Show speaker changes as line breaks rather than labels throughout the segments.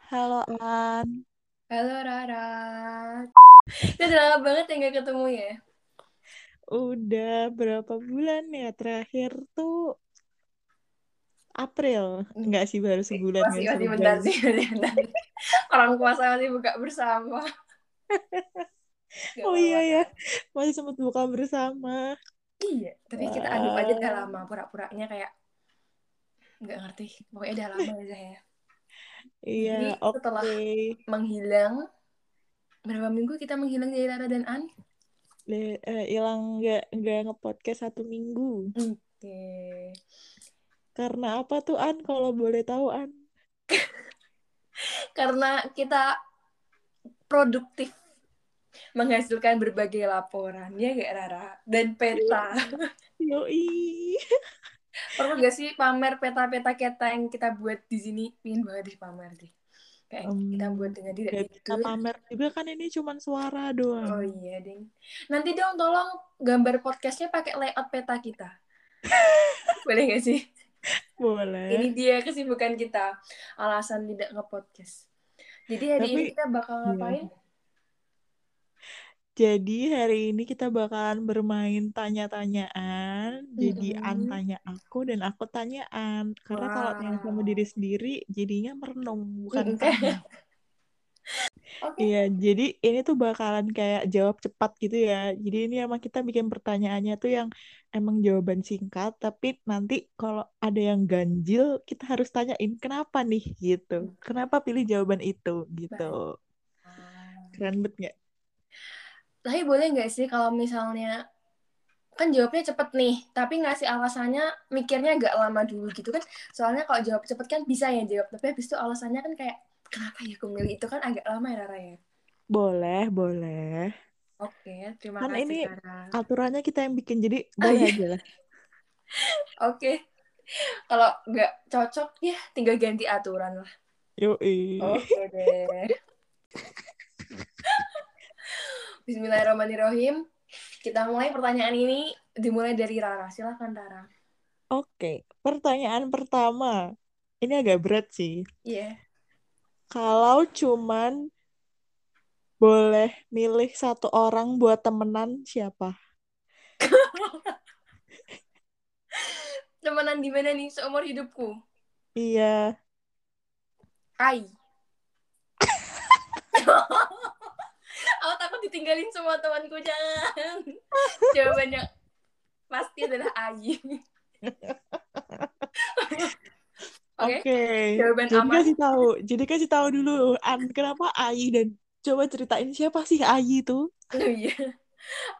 Halo An,
Halo Rara. Kita udah lama banget ya gak ketemu ya.
udah berapa bulan ya terakhir tuh April, enggak sih baru sebulan
Masih
nggak
masih bentar
sebulan.
sih, masih bentar. Orang puasa masih buka bersama. Gak
Oh iya
apa-apa.
ya, masih sempat buka bersama.
Iya, tapi kita anggap aja udah
Wah,
lama pura-puranya kayak nggak ngerti. Pokoknya udah lama aja ya.
iya
Jadi setelah
oke.
menghilang, berapa minggu kita menghilang dari Rara dan An?
Le- eh, Hilang nggak nggak ngepodcast satu minggu.
Oke.
Karena apa tuh An? Kalau boleh tahu An?
Karena kita produktif menghasilkan berbagai laporan, ya gak Rara? Dan
Yo,
peta.
yoi.
Perlu gak sih pamer peta-peta kita yang kita buat di sini? Pingin banget deh pamer deh. Kayak kita buat
Um,
dengan tidak
gak bisa
tidur.
pamer juga kan ini cuman suara
gitu. Oh
doang.
iya, Ding. Nanti dong tolong gambar podcastnya pakai layout peta kita. Boleh gak sih? Ini
Boleh.
dia kesibukan kita. Alasan tidak nge-podcast. Jadi hari
Tapi
ini kita bakal
ya.
ngapain?
Jadi hari ini kita bakalan bermain tanya-tanyaan. Jadi An
Mm-mm.
tanya aku dan aku tanyaan. Karena kalau tanya sama
Wow.
diri sendiri jadinya merenung bukan
Mm-mm.
tanya.
Oke.
Iya, jadi ini tuh bakalan kayak jawab cepat gitu ya. Jadi ini emang kita bikin pertanyaannya tuh yang emang jawaban singkat, tapi nanti kalau ada yang ganjil kita harus tanyain kenapa nih gitu. Kenapa pilih jawaban itu gitu.
Baik.
Keren banget nggak?
Tapi boleh gak sih kalau misalnya kan jawabnya cepet nih, tapi ngasih alasannya mikirnya agak lama dulu gitu kan. Soalnya kalau jawab cepet kan bisa ya jawab, tapi habis itu alasannya kan kayak kenapa ya aku milih itu kan agak lama ya Rara ya.
Boleh, boleh.
Oke, terima
Kan
kasih
ini
Rara.
aturannya kita yang bikin, jadi
Oh
boleh
iya,
aja lah.
oke. Kalau nggak cocok ya tinggal ganti aturan lah.
Yoi.
Oke deh. Bismillahirrahmanirrahim. Kita mulai pertanyaan ini dimulai dari Rara. Silakan Rara.
Oke, pertanyaan pertama. Ini agak berat sih.
Iya.
Kalau cuman boleh milih satu orang buat temenan, siapa?
Temenan di mana nih seumur hidupku?
Iya.
Ai. Aku takut ditinggalin semua temanku jangan. Jawabannya pasti adalah Ayi. Oke,
Oke,
jawaban
jadi
aman.
kasih tahu, jadi kasih tahu dulu, An, kenapa Ayi dan coba ceritain siapa sih Ayi itu?
Oh iya,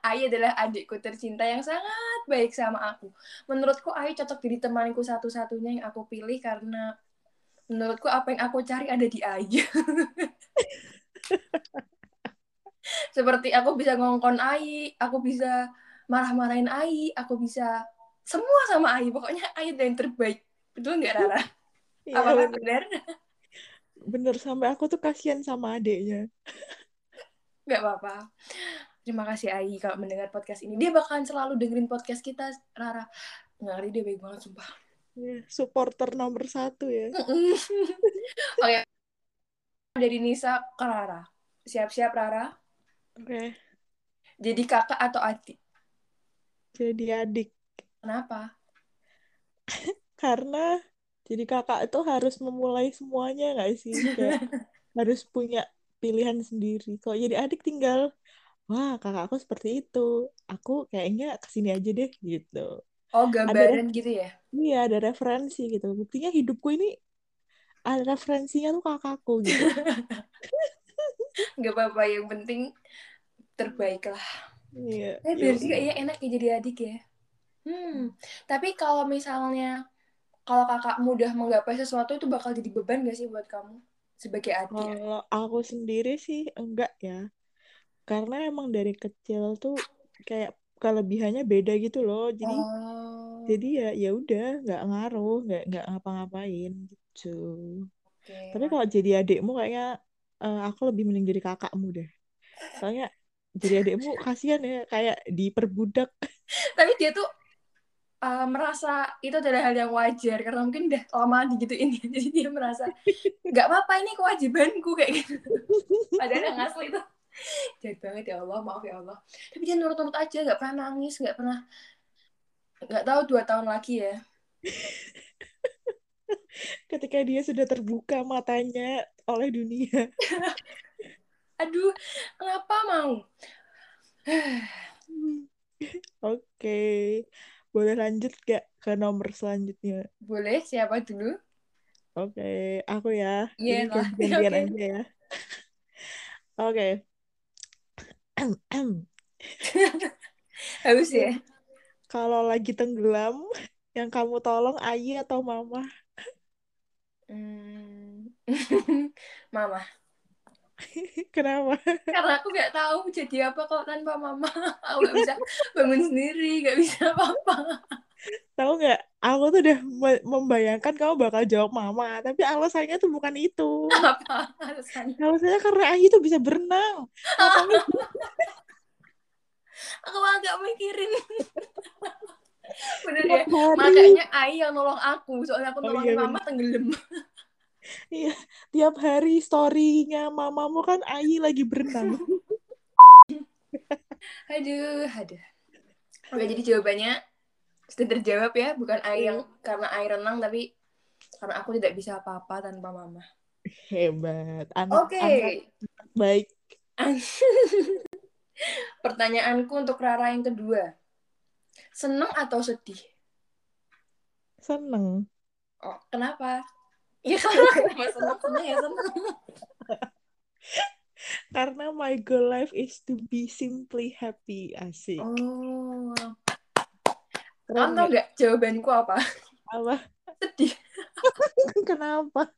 Ayi adalah adikku tercinta yang sangat baik sama aku. Menurutku Ayi cocok jadi temanku satu-satunya yang aku pilih karena menurutku apa yang aku cari ada di Ayi. Seperti aku bisa ngongkon Ayi, aku bisa marah-marahin Ayi, aku bisa semua sama Ayi. Pokoknya Ayi adalah yang terbaik. Betul nggak Rara?
Iya
Apakah
bener,
benar?
bener sampai aku tuh kasihan sama adeknya.
Nggak apa-apa. Terima kasih Ayi kalau mendengar podcast ini. Dia bakalan selalu dengerin podcast kita, Rara. Nggak ngerti dia baik banget, sumpah.
Iya, Supporter nomor satu ya.
Mm-mm. Oke, dari Nisa ke Rara. Siap-siap, Rara.
Oke,
Jadi kakak atau adik?
jadi adik.
Kenapa?
karena jadi kakak itu harus memulai semuanya nggak sih kayak harus punya pilihan sendiri kalau jadi adik tinggal wah kakakku seperti itu aku kayaknya kesini aja deh gitu
Oh,
ada ref-
gambaran gitu ya?
iya ada referensi gitu buktinya hidupku ini ada referensinya tuh kakakku gitu
Nggak apa-apa, yang penting terbaik lah.
iya
Tapi Eh, bener sih,
yoi
kayaknya enak ya jadi adik ya. Hmm, tapi kalau misalnya, kalau kakak mudah menggapai sesuatu, itu bakal jadi beban gak sih buat kamu? Sebagai adik.
kalau aku sendiri sih enggak ya karena emang dari kecil tuh kayak kelebihannya beda gitu loh jadi
Oh,
jadi ya ya udah nggak ngaruh nggak nggak ngapa-ngapain gitu
oke.
tapi kalau jadi adikmu kayaknya eh, aku lebih mending jadi kakakmu deh soalnya jadi adikmu kasihan ya kayak diperbudak
Tapi dia tuh eh, merasa itu adalah hal yang wajar karena mungkin udah lama digituin ya. jadi dia merasa nggak apa-apa ini kewajibanku kayak gitu padahal yang asli itu jahat banget ya Allah maaf ya Allah tapi dia nurut-nurut aja nggak pernah nangis nggak pernah nggak tahu dua tahun lagi ya
Ketika dia sudah terbuka matanya oleh dunia.
aduh kenapa mau Hmm.
Oke. Boleh lanjut gak ke nomor selanjutnya?
boleh siapa dulu
Oke, aku ya.
Iya
Jadi
lah.
gantian
Oke.
aja ya. Oke.
harus ya
Kalau lagi tenggelam, yang kamu tolong Ayi atau Mama?
Hmm. mama
Kenapa?
karena aku nggak tahu jadi apa kalau tanpa mama aku nggak bisa bangun sendiri nggak bisa apa-apa
Tahu nggak? Aku tuh udah me- membayangkan kamu bakal jawab Mama, tapi alasannya tuh bukan itu.
apa alasannya
Alasannya karena Ayi tuh bisa berenang. Makanya
aku malah nggak mikirin bener ya
tiap hari,
makanya Ai yang nolong aku soalnya aku
Oh,
nolong
iya,
mama tenggelam
tiap hari story-nya mamamu kan Ayi lagi berenang.
aduh aduh oke jadi jawabannya sudah terjawab ya bukan
Iya.
Ai yang karena Ai renang tapi karena aku tidak bisa apa-apa tanpa mama
Hebat. Anak,
oke
anak baik.
pertanyaanku untuk Rara yang kedua seneng atau sedih
Seneng.
Oh, kenapa? Ya karena kenapa seneng seneng ya seneng.
Karena my goal life is to be simply happy. Asik.
Oh. ya. Kamu
Keren
tau
nggak?
nggak jawabanku apa?
Apa?
Sedih.
Kenapa?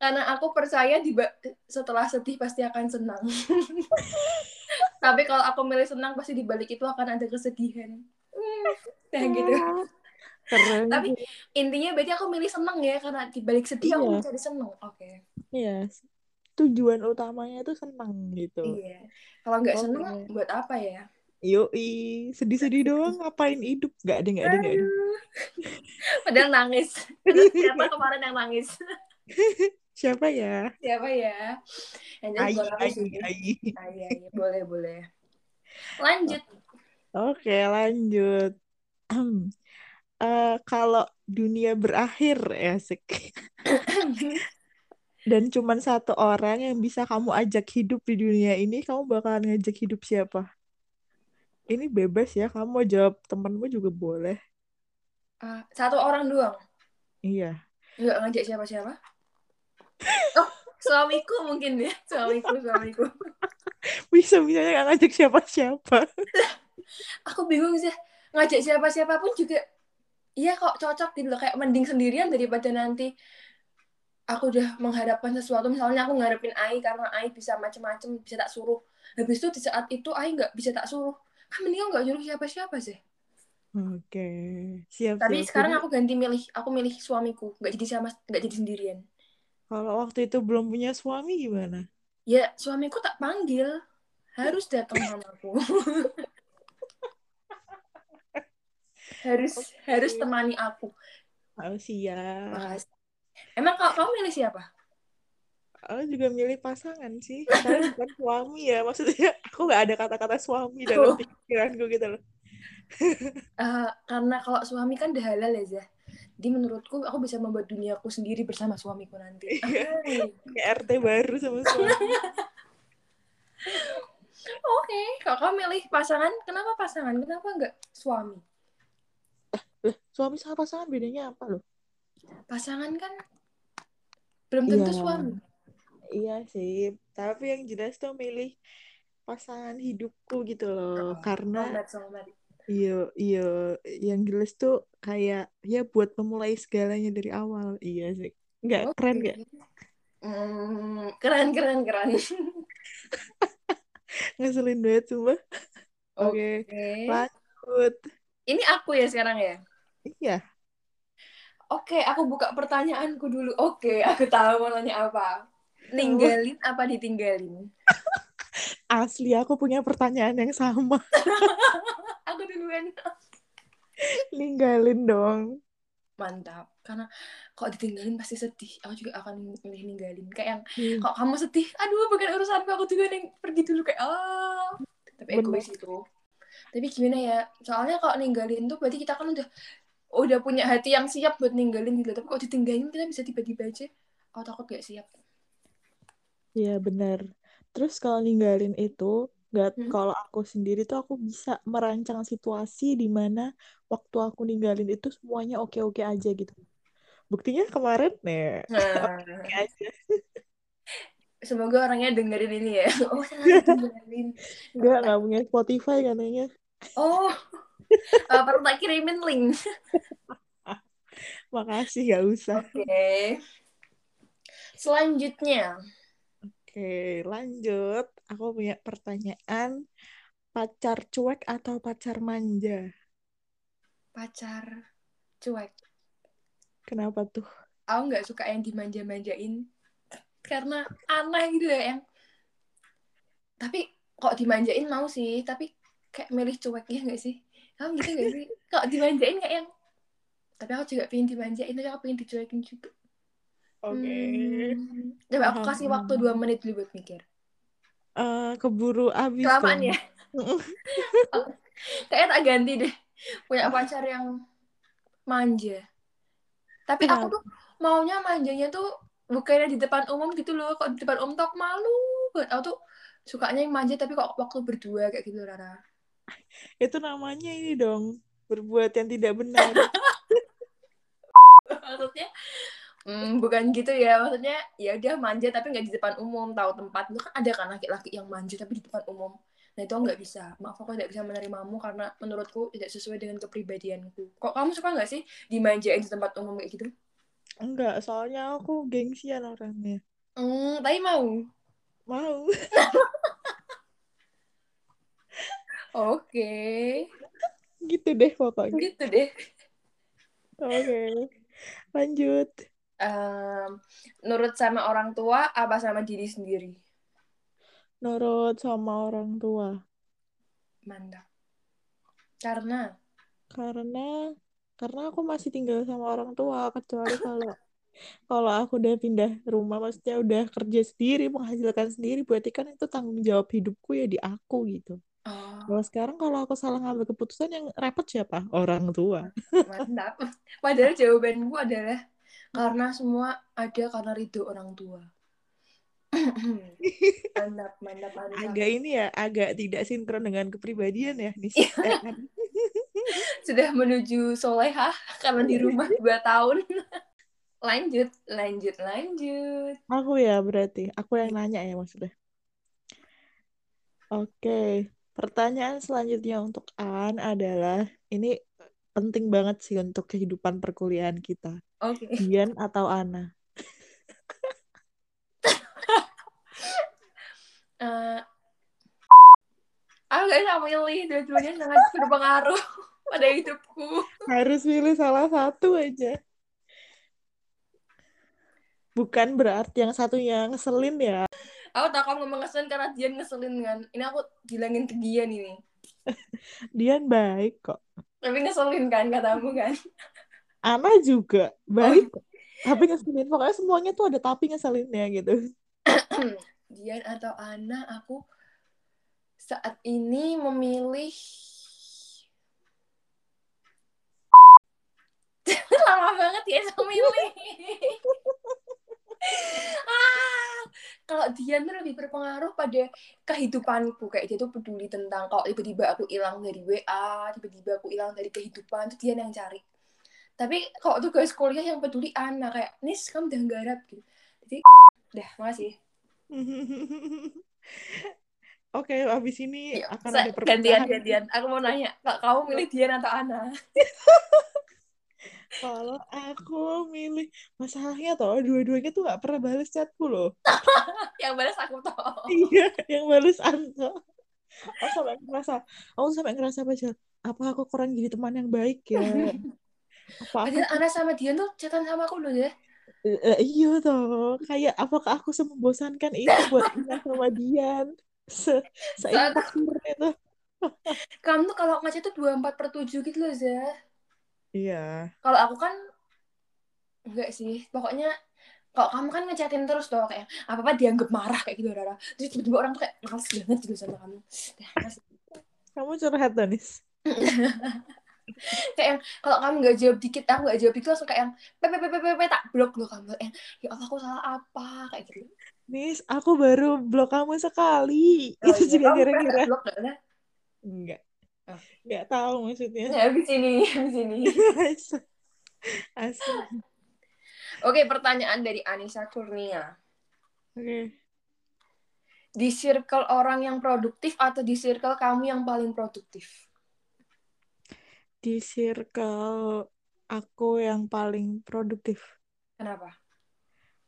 Karena aku percaya di ba- setelah sedih pasti akan senang. Tapi kalau aku milih senang pasti di balik itu akan ada kesedihan. Hmm, Nah gitu.
Keren.
Tapi intinya berarti aku milih senang ya karena di balik sedih aku
Iya.
mencari senang. Oke.
ya tujuan utamanya itu senang gitu.
Iya. Kalau nggak
Oke.
senang buat apa ya?
Yoi, sedih-sedih doang ngapain hidup? Gak ada, gak ada, gak ada.
Iya. Aduh. Padahal nangis. Terus siapa kemarin yang nangis?
Siapa ya?
Siapa ya? Yang jelas
Ayi,
bukan aku
Ayi,
sih.
Ayi.
Ah, iya, iya. boleh, boleh. Lanjut.
Oke, lanjut. Eh, kalau dunia berakhir, asik. Dan cuman satu orang yang bisa kamu ajak hidup di dunia ini, kamu bakalan ngajak hidup siapa? Ini bebas ya, kamu mau jawab temanmu juga boleh.
Ah, satu orang doang.
Iya.
Nggak ngajak siapa-siapa. Oh, suamiku mungkin ya. Suamiku, suamiku.
Bisa-bisanya nggak ngajak siapa-siapa.
Aku bingung sih. Ngajak siapa-siapa pun juga Iya kok cocok gitu loh. Kayak mending sendirian daripada nanti aku udah mengharapkan sesuatu. Misalnya aku ngarepin Ai karena Ai bisa macem-macem, bisa tak suruh. Habis itu di saat itu Ai nggak bisa tak suruh. Kan mending aku nggak suruh siapa-siapa sih.
Oke, siap, siap.
Tapi
Jadi,
sekarang aku ganti milih, aku milih suamiku, nggak jadi sama, nggak jadi sendirian.
kalau waktu itu belum punya suami gimana?
Ya suamiku tak panggil, harus datang mamaku. harus harus temani aku.
Oh, siap.
Makasih. Emang kalau kamu milih siapa?
Aku juga milih pasangan sih. Karena bukan suami ya. Maksudnya aku nggak ada kata-kata suami
Oh.
dalam pikiranku gitu loh.
Eh, karena kalau suami kan udah halal ya Zah. Jadi menurutku aku bisa membuat duniaku sendiri bersama suamiku nanti.
Iya.
Amin.
Kayak RT baru sama suami.
Oke, kalau kamu milih pasangan, kenapa pasangan? Kenapa nggak suami?
Suami sama pasangan bedanya apa loh?
Pasangan kan belum tentu
Iya.
suami.
Iya sih. Tapi yang jelas tuh milih pasangan hidupku gitu loh.
Oh,
Karena
soulmate, soulmate.
iya, iya. Yang jelas tuh kayak ya buat memulai segalanya dari awal. Iya sih. Nggak
Oke.
keren nggak?
Hmm, keren keren keren.
Ngeselin banget semua. Oke.
Oke.
Lanjut.
Ini aku ya sekarang ya.
Iya.
Oke, aku buka pertanyaanku dulu. Oke, aku tahu mau nanya apa. Ninggalin apa ditinggalin?
Asli aku punya pertanyaan yang sama.
Aku duluan.
ninggalin dong
mantap karena kalau ditinggalin pasti sedih aku juga akan milih ninggalin kayak yang
Iya,
kalau kamu sedih aduh bukan urusanku aku juga yang pergi dulu kayak ah tapi
Bener.
egois itu tapi gimana ya soalnya kalau ninggalin tuh berarti kita kan udah udah punya hati yang siap buat ninggalin gitu tapi kalau ditinggalin kita bisa tiba-tiba aja aku takut gak siap
Iya, benar terus kalau ninggalin itu nggak
Hmm.
kalau aku sendiri tuh aku bisa merancang situasi di mana waktu aku ninggalin itu semuanya oke-oke aja gitu buktinya kemarin nih
nah
oke aja
semoga orangnya dengerin ini ya oh ternyata ninggalin
nggak nggak punya Spotify katanya
oh eh, perlu tak kirimin link
makasih nggak usah
oke selanjutnya
Oke, lanjut. Aku punya pertanyaan, pacar cuek atau pacar manja?
pacar cuek
Kenapa tuh?
aku nggak suka yang dimanja-manjain karena aneh gitu ya yang tapi kok dimanjain mau sih tapi kayak milih cuek ya nggak sih kamu gitu nggak sih kok dimanjain kayak yang tapi aku juga pengen dimanjain tapi aku pengen dicuekin juga
Oke.
Hmm. coba aku
Paham,
kasih
paham.
waktu dua menit dulu buat mikir
Eh, keburu habis
kelamaan
dong.
ya kayaknya tak ganti deh punya pacar yang manja tapi
Kenapa?
aku tuh maunya manjanya tuh bukannya di depan umum gitu loh kok di depan umum tuh aku malu banget aku tuh sukanya yang manja tapi kok waktu berdua kayak gitu Rara
Itu namanya ini dong, berbuat yang tidak benar.
maksudnya hmm, bukan gitu ya maksudnya ya udah manja tapi nggak di depan umum tahu tempat lu kan ada kan laki-laki yang manja tapi di depan umum nah itu aku nggak bisa maaf aku tidak bisa menerimamu karena menurutku tidak sesuai dengan kepribadianku kok kamu suka nggak sih dimanjain di tempat umum kayak gitu
Enggak, soalnya aku gengsian orangnya.
hmm tapi mau
Mau.
oke
Gitu deh pokoknya.
gitu deh
Oke, lanjut.
Em, nurut sama orang tua apa sama diri sendiri
Nurut sama orang tua.
mantap karena
Karena karena aku masih tinggal sama orang tua, kecuali kalau Kalau aku udah pindah rumah, maksudnya udah kerja sendiri, menghasilkan sendiri, berarti kan itu tanggung jawab hidupku ya di aku gitu. Kalau
oh
sekarang kalau aku salah ngambil keputusan yang repot siapa? Orang tua.
mantap padahal jawaban gue adalah karena semua ada karena ridho orang tua mantap mantap Anissa
Agak ini ya, agak tidak sinkron dengan kepribadian ya, Nis. Eh, kan.
sudah menuju solehah karena di rumah dua tahun lanjut lanjut lanjut
Aku ya berarti, aku yang nanya ya maksudnya. Oke, pertanyaan selanjutnya untuk An adalah, ini penting banget sih untuk kehidupan perkuliahan kita.
oke
Dian atau Ana?
Eh, aku gak bisa milih dua-duanya sangat berpengaruh pada hidupku
Harus pilih salah satu aja. Bukan berarti yang satunya ngeselin ya.
aku tau kamu ngomong ngeselin karena dia ngeselin kan ini aku bilangin ke dia nih
Dian baik kok.
tapi ngeselin kan katamu kan
Ana juga
oh
baik kok. Tapi ngeselin. Pokoknya semuanya tuh ada tapi ngeselinnya gitu.
Dian atau Ana aku saat ini memilih lama banget ya saya memilih ah kalau Dian tuh lebih berpengaruh pada kehidupanku kayak dia tuh peduli tentang kalau tiba-tiba aku hilang dari WA tiba-tiba aku hilang dari kehidupan itu Dian yang cari tapi kalau tugas kuliah yang peduli Ana kayak Nis kamu udah garap gitu jadi udah makasih
Oke, abis ini
Yuk,
akan
sa-
ada
Iya, gantian
perpisahan.
gantian aku mau nanya kak kamu milih Dian atau Ana
Kalau aku milih masalahnya toh dua-duanya tuh gak pernah balas chatku loh.
yang balas aku toh
Iya, yang balas Anto. Aku sampai ngerasa, aku sampai ngerasa apa aja? Apa aku kurang jadi teman yang baik ya? Apa aku
Padahal Ana sama Dian tuh chatan sama aku loh ya.
Eh, eh, iya toh kayak apakah aku semembosankan itu buat Ina sama Dian se
Saat
seinfak itu
kamu tuh kalau ngaca tuh 24 per 7 gitu loh, Zah.
Iya.
Kalau aku kan enggak sih. Pokoknya kalau kamu kan ngechatin terus tuh kayak apa-apa dianggap marah kayak gitu Rara. Terus tiba-tiba orang tuh kayak males banget gitu sama kamu. Dah, males.
Kamu curhat, Danis.
kayak yang kalau kamu nggak jawab dikit aku nggak jawab itu langsung kayak yang pepepepepe tak blok lo kamu yang ya Allah aku salah apa kayak gitu
Nis, aku baru blok kamu sekali.
Oh,
Itu
iya.
juga
Kamu pernah nggak
kira-kira.
blok nggak?
Enggak.
Oh.
Enggak tahu maksudnya.
ya habis ini habis ini
Asik.
oke pertanyaan dari Anissa Kurnia
Oke.
di circle orang yang produktif atau di circle kamu yang paling produktif
Di circle aku yang paling produktif.
kenapa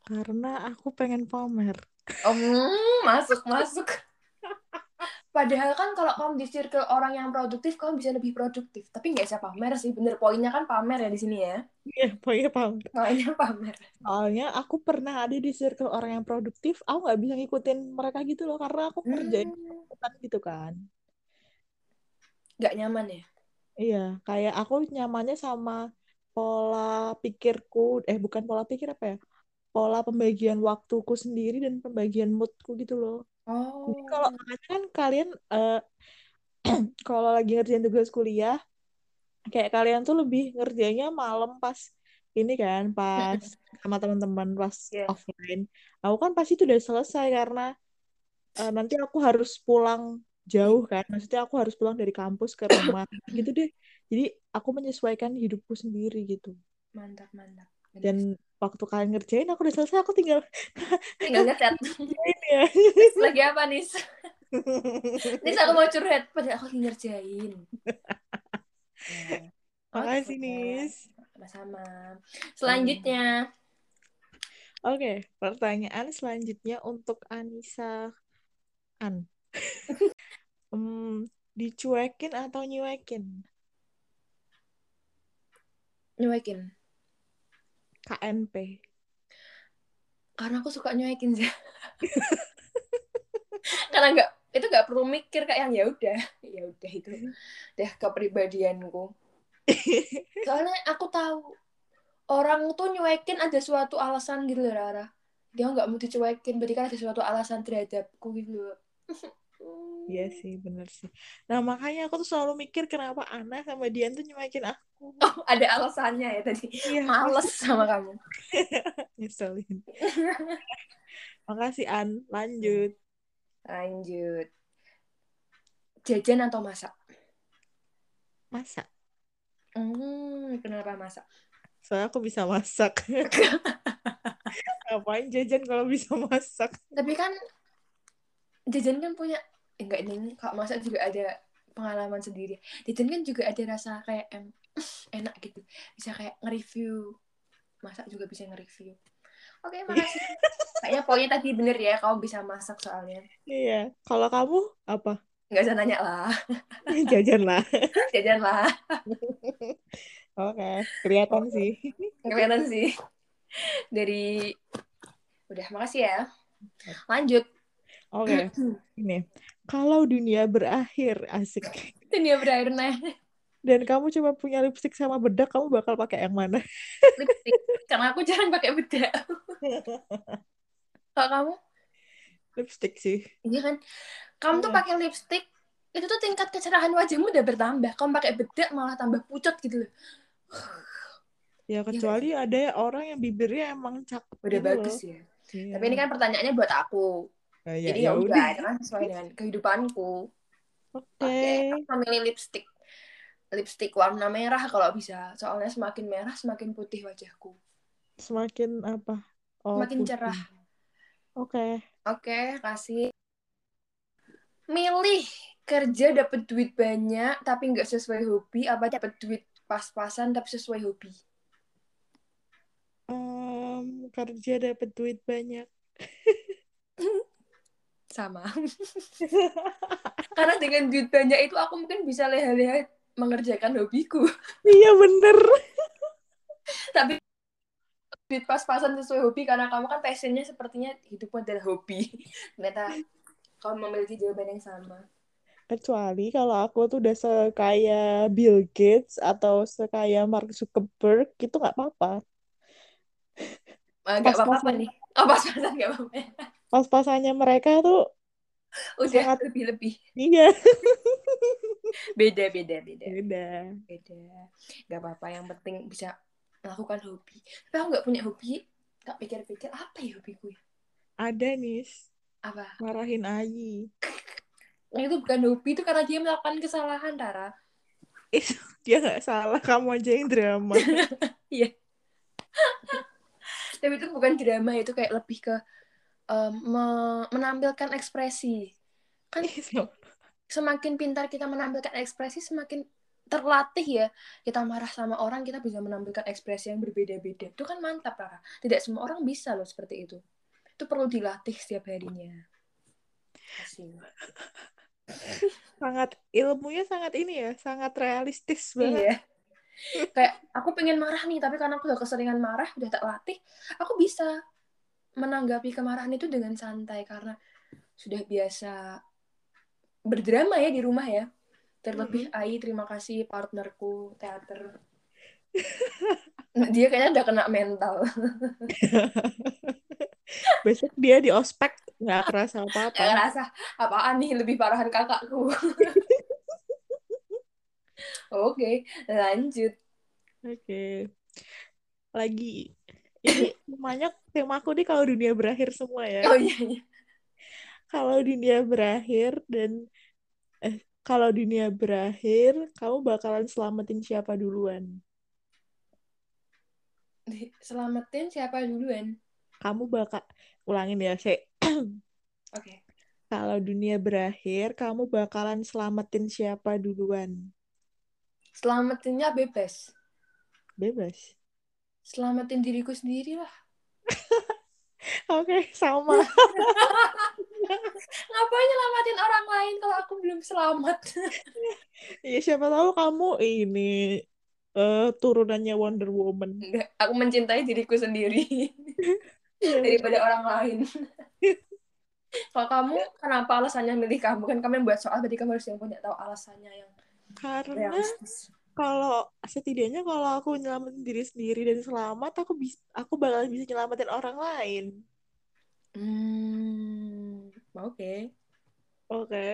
Karena aku pengen pamer.
oh hmm, masuk masuk Padahal kan kalau kamu di circle orang yang produktif, kamu bisa lebih produktif. Tapi nggak bisa pamer sih, bener. Poinnya kan pamer ya di sini ya.
Iya, pokoknya pamer.
Poinnya pamer.
Soalnya aku pernah ada di circle orang yang produktif, aku nggak bisa ngikutin mereka gitu loh, karena aku kerjain
Hmm,
kegiatan gitu kan.
nggak nyaman ya
Iya, kayak aku nyamannya sama pola pikirku, eh bukan pola pikir apa ya, pola pembagian waktuku sendiri dan pembagian moodku gitu loh.
oh
Jadi kalau makanya kan kalian eh, kalau lagi ngerjain tugas kuliah, kayak kalian tuh lebih ngerjainnya malam pas ini kan, pas sama teman-teman pas
Iya.
offline. Aku kan pasti itu udah selesai karena eh, nanti aku harus pulang jauh kan. Maksudnya aku harus pulang dari kampus ke rumah gitu deh. Jadi aku menyesuaikan hidupku sendiri gitu.
mantap mantap Bener.
Dan waktu kalian ngerjain aku udah selesai, aku tinggal
tinggal ngecat
ini ya.
lagi apa nis nis aku mau curhat padahal aku lagi ngerjain Ya.
Makasih,
Oke.
Nis.
sama-sama selanjutnya
Oke, pertanyaan selanjutnya untuk Anissa An. Hmm, dicuekin atau nyuekin?
nyuekin
KNP.
karena aku suka nyuekin sih karena nggak itu nggak perlu mikir kayak yang ya udah ya udah itu udah kepribadianku soalnya aku tahu orang tuh nyuekin ada suatu alasan gitu loh Rara dia nggak mau dicuekin berarti kan ada suatu alasan terhadapku gitu loh
Iya sih, bener sih. Nah, makanya aku tuh selalu mikir kenapa Ana sama Dian tuh nyuekin aku.
ada alasannya ya tadi
Iya,
males sama kamu
nyeselin. Makasih, An. Lanjut.
lanjut jajan atau masak
Masak.
hmm, kenapa masak
Soalnya aku bisa masak. Ngapain jajan kalau bisa masak?
tapi kan jajan kan punya eh, enggak ini kalau masak juga ada pengalaman sendiri jajan kan juga ada rasa kayak em, enak gitu bisa kayak nge-review masak juga bisa nge-review oke makasih kayaknya poinnya tadi bener ya kamu bisa masak soalnya
Iya. Kalau kamu, apa?
nggak usah nanya lah
Jajan lah.
jajan lah
Oke, kelihatan sih.
kelihatan sih dari udah makasih ya lanjut
Oke, ini. Kalau dunia berakhir, asik.
dunia berakhir nah
Dan kamu cuma punya lipstick sama bedak, kamu bakal pakai yang mana?
lipstick karena aku jarang pakai bedak kalau kamu
Lipstick sih.
Iya kan? Kamu tuh
Iya.
pakai lipstick, itu tuh tingkat kecerahan wajahmu udah bertambah. Kamu pakai bedak malah tambah pucat gitu loh.
Ya, kecuali ada ya orang yang bibirnya emang cakep
Iya, Udah
gitu
bagus
loh.
ya.
Iya.
Tapi ini kan pertanyaannya buat aku.
Nah, ya,
Jadi
ya
ya
udah.
udah, itu kan sesuai dengan kehidupanku.
Oke.
Oke, aku memilih lipstick. Lipstick warna merah kalau bisa. Soalnya semakin merah semakin putih wajahku.
Semakin apa? Oh,
Semakin
putih.
cerah.
Oke.
Oke, kasih. Milih kerja dapat duit banyak tapi nggak sesuai hobi apa dapat duit pas-pasan tapi sesuai hobi.
Em, kerja dapat duit banyak.
sama karena dengan duit banyak itu aku mungkin bisa leha-leha mengerjakan hobiku
Iya, bener.
tapi duit pas-pasan sesuai hobi karena kamu kan passionnya sepertinya hidupmu adalah hobi ternyata kamu memiliki jawaban yang sama
Kecuali kalau aku tuh udah sekaya Bill Gates atau sekaya Mark Zuckerberg, itu nggak apa-apa.
Eh, Nggak apa-apa
Pas-pasan.
nih. Oh, pas-pasan nggak apa-apa.
Pas-pasannya mereka tuh
Udah
Sangat-
lebih-lebih.
iya
Beda, beda, beda.
beda.
Beda. Nggak apa-apa. Yang penting bisa melakukan hobi. Tapi aku nggak punya hobi. Nggak pikir-pikir apa ya hobi gue.
Ada nih
Apa?
marahin Ayi.
Nah, itu bukan hobi. Itu karena dia melakukan kesalahan, Tara.
Itu dia nggak salah, kamu aja yang drama.
Tapi itu bukan drama. Itu kayak lebih ke em, me- menampilkan ekspresi. Kan semakin pintar kita menampilkan ekspresi, semakin terlatih ya. Kita marah sama orang, kita bisa menampilkan ekspresi yang berbeda-beda. Itu kan mantap, Rara. Tidak semua orang bisa loh seperti itu. Itu perlu dilatih setiap harinya. Asik.
Sangat ilmunya sangat ini ya, sangat realistis banget.
Iya. Kayak aku pengen marah nih, tapi karena aku udah keseringan marah, udah tak latih, aku bisa menanggapi kemarahan itu dengan santai karena sudah biasa berdrama ya di rumah ya. Terlebih Ai, terima kasih partnerku teater. Nah, Dia kayaknya udah kena mental.
Besok dia di ospek nggak kerasa
Gak
apa-apa.
ngerasa apaan nih lebih parahan kakakku. Oke, lanjut.
Oke. Lagi ini temanya tema aku nih kalau dunia berakhir semua ya.
Oh iya, iya.
Kalau dunia berakhir dan eh kalau dunia berakhir, kamu bakalan selamatin siapa duluan?
Di- Selamatin siapa duluan?
Kamu bakal ulangin ya, Sek.
Oke.
Kalau dunia berakhir, kamu bakalan selamatin siapa duluan?
Selamatinnya bebas.
Bebas.
Selamatin diriku sendiri lah.
Oke, sama.
Ngapain nyelamatin orang lain kalau aku belum selamat?
Ya siapa tahu kamu ini eh turunannya Wonder Woman.
Enggak, aku mencintai diriku sendiri
Iya,
daripada orang lain. kalau kamu, kenapa alasannya milih kamu? Kan kamu yang buat soal, jadi kamu harus yang punya tahu alasannya yang
Karena
realistis.
kalau setidaknya kalau aku nyelamatin diri sendiri dan selamat aku bisa aku bakal bisa nyelamatin orang lain
Hmm, oke.
oke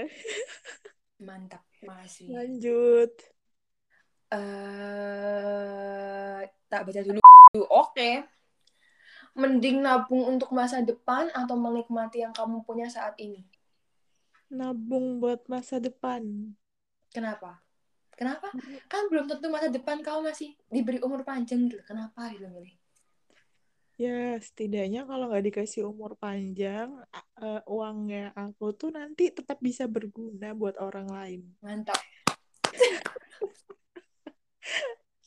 Mantap, makasih.
lanjut
eh tak baca dulu. Oke. Mending nabung untuk masa depan atau menikmati yang kamu punya saat ini?
nabung buat masa depan
Kenapa? Kenapa? Kan belum tentu masa depan kamu masih diberi umur panjang gitu. Kenapa gitu milih?
ya setidaknya kalau nggak dikasih umur panjang a- eh, uangnya aku tuh nanti tetap bisa berguna buat orang lain
Mantap.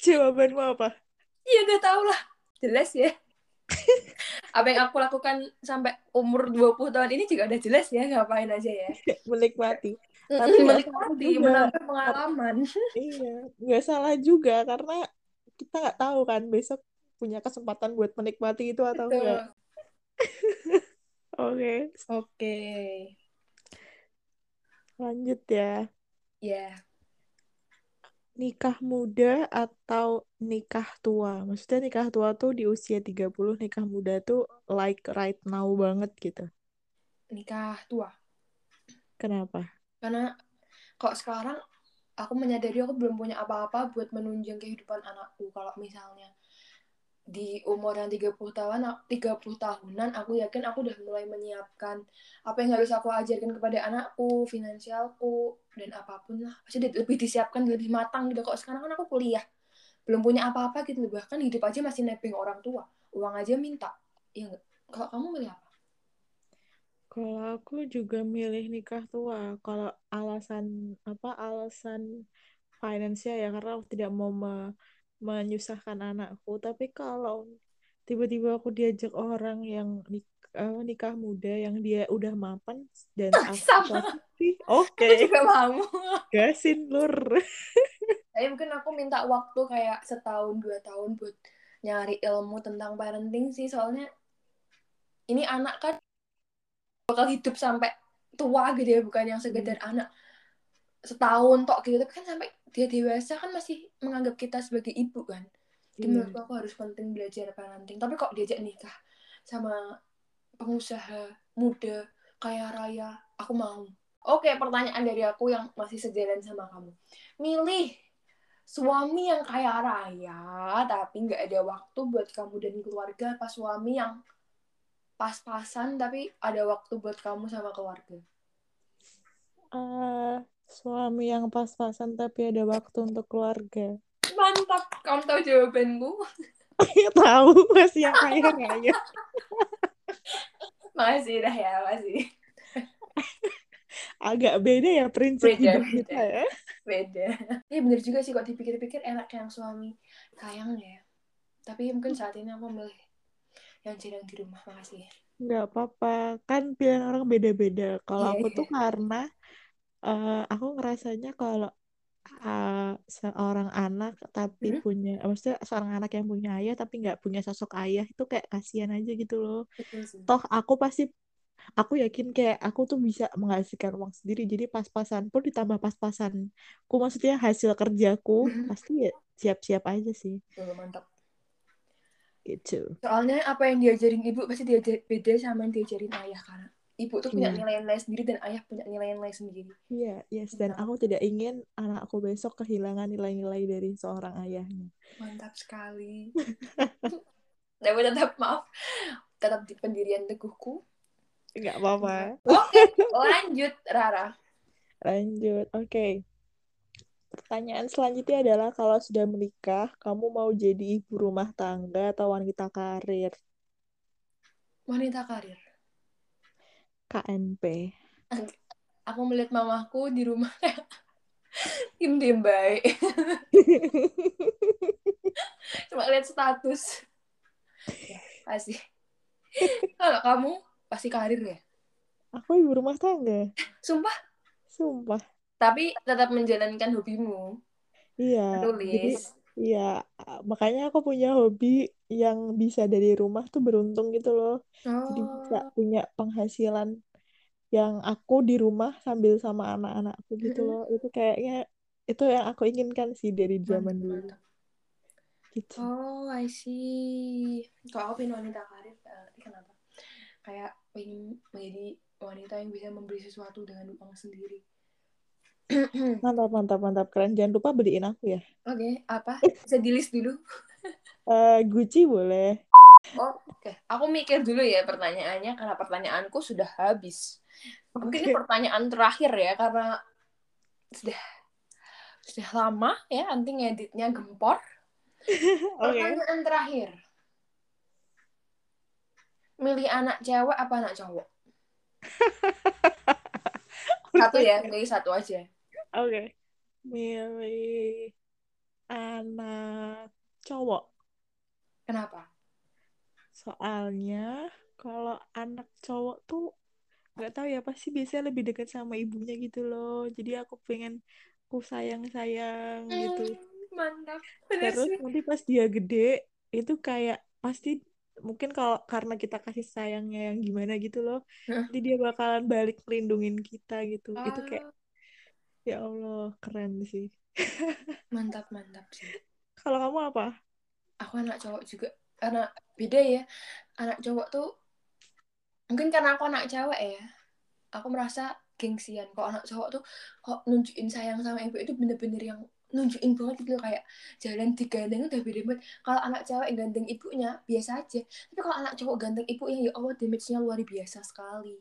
jawabanmu apa
Iya udah tau lah. Jelas ya. Apa yang aku lakukan sampai umur 20 tahun ini juga udah jelas ya ngapain aja ya.
menikmati Tapi
Tapi
nggak
menikmati,
salah juga.
menambah pengalaman.
iya nggak salah juga karena kita nggak tahu kan besok punya kesempatan buat menikmati itu atau
Betul.
enggak oke
Oke.
lanjut ya
Ya.
nikah muda atau nikah tua? Maksudnya nikah tua tuh di usia 30, nikah muda tuh like right now banget gitu.
Nikah tua.
Kenapa?
Karena kok sekarang aku menyadari aku belum punya apa-apa buat menunjang kehidupan anakku. Kalau misalnya di umur yang 30 tahun 30 tahunan aku yakin aku udah mulai menyiapkan apa yang harus aku ajarkan kepada anakku, finansialku dan apapun lah. Pasti di- lebih disiapkan lebih matang gitu. Kok sekarang kan aku kuliah, belum punya apa-apa gitu. Bahkan hidup aja masih nebeng orang tua. Uang aja minta. Iya nggak? Kalau kamu milih apa?
Kalau aku juga milih nikah tua. Kalau alasan apa? Alasan finance-nya ya karena aku tidak mau me- menyusahkan anakku. Tapi kalau tiba-tiba aku diajak orang yang nik- apa, nikah muda yang dia udah mapan dan aku
Sama.
pasti
Aku
oke,
juga mau.
gasin lur.
Tapi mungkin aku minta waktu kayak setahun dua tahun buat nyari ilmu tentang parenting sih soalnya ini anak kan bakal hidup sampai tua gitu ya bukan yang sekedar anak setahun tok gitu tapi kan sampai dia dewasa kan masih menganggap kita sebagai ibu kan jadi
Iya.
menurutku aku harus penting belajar parenting tapi kok diajak nikah sama pengusaha muda kaya raya aku mau oke pertanyaan dari aku yang masih sejalan sama kamu milih suami yang kaya raya tapi nggak ada waktu buat kamu dan keluarga apa suami yang pas-pasan tapi ada waktu buat kamu sama keluarga
Eh, suami yang pas-pasan tapi ada waktu untuk keluarga.
mantap kamu tahu jawabanku
Ya Tahu masih yang kaya raya.
Makasih dah ya, masih
Agak beda ya prinsip
Beda,
hidup kita
beda.
ya.
beda. Iya bener juga sih kok dipikir-pikir enak yang suami. Sayang ya. Tapi mungkin saat ini aku milih yang jarang di rumah. Makasih. ya.
Nggak apa-apa. Kan pilihan orang beda-beda. Kalau
Iya,
aku
iya.
tuh karena eh, aku ngerasanya kalau eh, seorang anak tapi
Hmm?
punya, maksudnya seorang anak yang punya ayah tapi nggak punya sosok ayah itu kayak kasihan aja gitu loh.
Betul sih.
Toh aku pasti aku yakin kayak aku tuh bisa menghasilkan uang sendiri jadi pas-pasan pun ditambah pas-pasan ku maksudnya hasil kerjaku pasti ya siap-siap aja sih
Betul, mantap.
gitu
Soalnya apa yang diajarin ibu pasti diajar beda sama yang diajarin ayah. Karena ibu tuh punya
Iya.
nilai-nilai sendiri dan ayah punya nilai-nilai sendiri.
Iya, yes. Dan aku tidak ingin anakku besok kehilangan nilai-nilai dari seorang ayahnya.
Mantap sekali. Tapi tetap maaf. Tetap di pendirian teguhku.
Nggak apa-apa.
Oke, lanjut Rara.
Lanjut. Oke. Pertanyaan selanjutnya adalah kalau sudah menikah, kamu mau jadi ibu rumah tangga atau wanita karir?
Wanita karir.
KNP.
aku melihat mamaku di rumah diem diem baik cuma lihat status ya, pasti kalau kamu pasti karir ya
Aku ibu rumah tangga.
sumpah
Sumpah.
tapi tetap menjalankan hobimu
Iya. Jadi
menulis
Iya, makanya aku punya hobi yang bisa dari rumah tuh beruntung gitu loh. Jadi bisa
oh
punya penghasilan yang aku di rumah sambil sama anak-anakku gitu
Mm-mm.
loh. Itu kayaknya itu yang aku inginkan sih dari zaman
mantap
dulu
mantap
gitu.
oh I see kalau aku pengen wanita karir eh, ini kenapa kayak pengen menjadi wanita yang bisa memberi sesuatu dengan uang sendiri oke
Mantap, mantap, mantap. Keren. Jangan lupa beliin aku ya.
apa bisa di list dulu Oh,
Eh, Gucci boleh.
Oke, aku mikir dulu ya pertanyaannya karena pertanyaanku sudah habis. Mungkin ini
Oke.
pertanyaan terakhir ya karena sudah sudah lama ya nanti ngeditnya gempor. Oh,
Oke.
Pertanyaan terakhir. Milih anak cewek apa anak cowok? Satu ya, milih satu aja.
Oke. Milih anak cowok.
Kenapa?
Soalnya kalau anak cowok tuh nggak tahu ya pasti biasanya lebih dekat sama ibunya gitu loh. Jadi aku pengen ku sayang-sayang gitu.
Hmm, mantap. Bener
Terus
sih.
nanti pas dia gede itu kayak pasti mungkin kalau karena kita kasih sayangnya yang gimana gitu loh,
Heeh.
nanti dia bakalan balik ngelindungin kita gitu. Itu kayak
Ah,
ya Allah keren sih.
mantap, mantap sih.
Kalau kamu apa?
Aku anak cowok juga. Anak beda ya. Anak cowok tuh mungkin karena aku anak cewek ya. aku merasa gengsian kok anak cowok tuh kok nunjukin sayang sama ibu itu bener-bener yang nunjukin banget gitu loh kayak jalan digandeng udah beda banget kalau anak cewek ganteng ibunya biasa aja tapi kalau anak cowok ganteng ibunya ya Allah damage-nya luar biasa sekali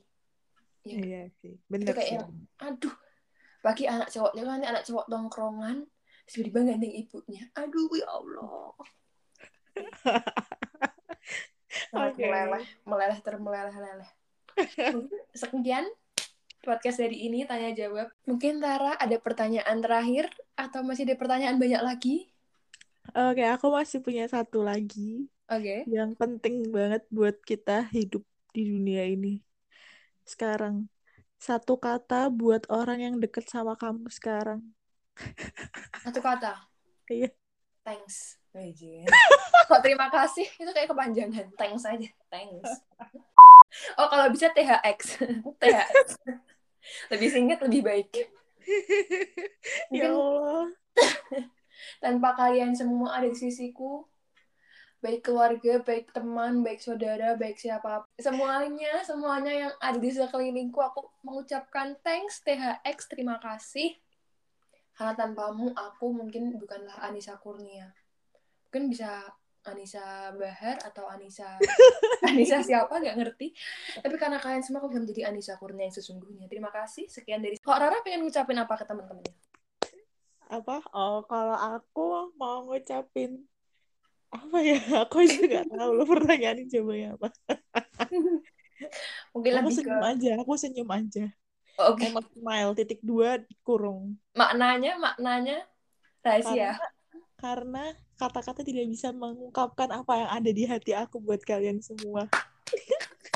ya kan?
Iya sih,
itu
bener
kayak
sih.
yang, aduh bagi anak cowoknya kan anak cowok tongkrongan terus tiba-tiba ganteng ibunya aduh ya Allah sangat
Oke.
meleleh meleleh termeleleh-leleh Mungkin sekian podcast dari ini tanya jawab. Mungkin Tara ada pertanyaan terakhir atau masih ada pertanyaan banyak lagi?
Oke, aku masih punya satu lagi
Oke.
yang penting banget buat kita hidup di dunia ini sekarang. Satu kata buat orang yang deket sama kamu sekarang.
Satu kata.
Iya.
Thanks. Wajib. Kok terima kasih? Itu kayak kepanjangan. Thanks aja. Thanks. Oh, kalau bisa THX. THX. Lebih singkat, lebih baik.
ya
Mungkin
Allah.
tanpa kalian semua ada di sisiku baik keluarga baik teman baik saudara baik siapa semuanya semuanya yang ada di sekelilingku aku mengucapkan thanks THX terima kasih karena tanpamu aku mungkin bukanlah Anissa Kurnia mungkin bisa Anissa Bahar atau Anissa Anissa siapa nggak ngerti tapi karena kalian semua aku bisa menjadi Anissa Kurnia yang sesungguhnya terima kasih sekian dari kok Rara pengen ngucapin apa ke teman-temannya
Apa? Oh, kalau aku mau ngucapin apa ya? Aku juga nggak tahu lo pertanyaannya coba ya apa.
mungkin
Aku
lebih ke
senyum aja, aku senyum aja.
oke
Emot smile titik dua kurung.
maknanya maknanya rahasia
Karena kata-kata tidak bisa mengungkapkan apa yang ada di hati aku buat kalian semua.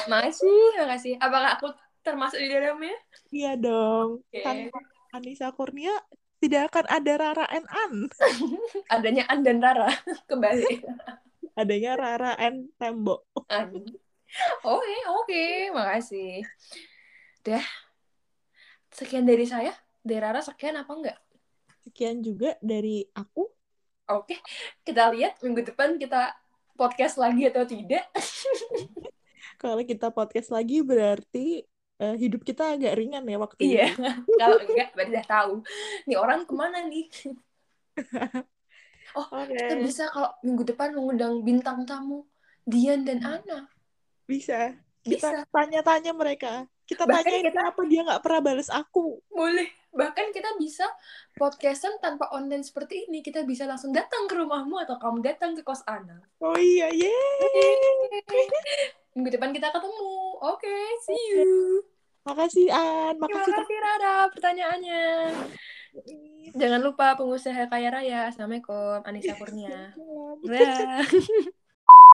makasih makasih apakah aku termasuk di dalamnya
Iya dong.
Oke.
Tanpa Anissa Kurnia tidak akan ada Rara and An.
adanya An dan Rara kembali
Adanya Rara and Tembok.
An. oke oke makasih dah sekian dari saya dari Rara sekian apa enggak
Sekian juga dari aku.
oke kita lihat minggu depan kita podcast lagi atau tidak
Kalau kita podcast lagi berarti eh, hidup kita agak ringan ya waktunya.
iya kalau enggak berarti udah tahu nih orang kemana nih
Oke,
kita bisa kalau minggu depan mengundang bintang tamu Dian dan Ana
bisa. Kita
bisa
tanya-tanya mereka. Kita
Bahkan
tanyain
kita-
kenapa dia nggak pernah bales aku.
Boleh. Bahkan kita bisa podcastan tanpa online seperti ini. Kita bisa langsung datang ke rumahmu atau kamu datang ke kos Ana.
Oh iya, yeay.
Minggu depan kita ketemu. Oke, see you.
Makasih An,
Terima
makasih
kasih Rara pertanyaannya.
Teh.
Nah. Jangan lupa pengusaha kaya raya. Assalamualaikum. Anissa Kurnia.
Salam.
Dah.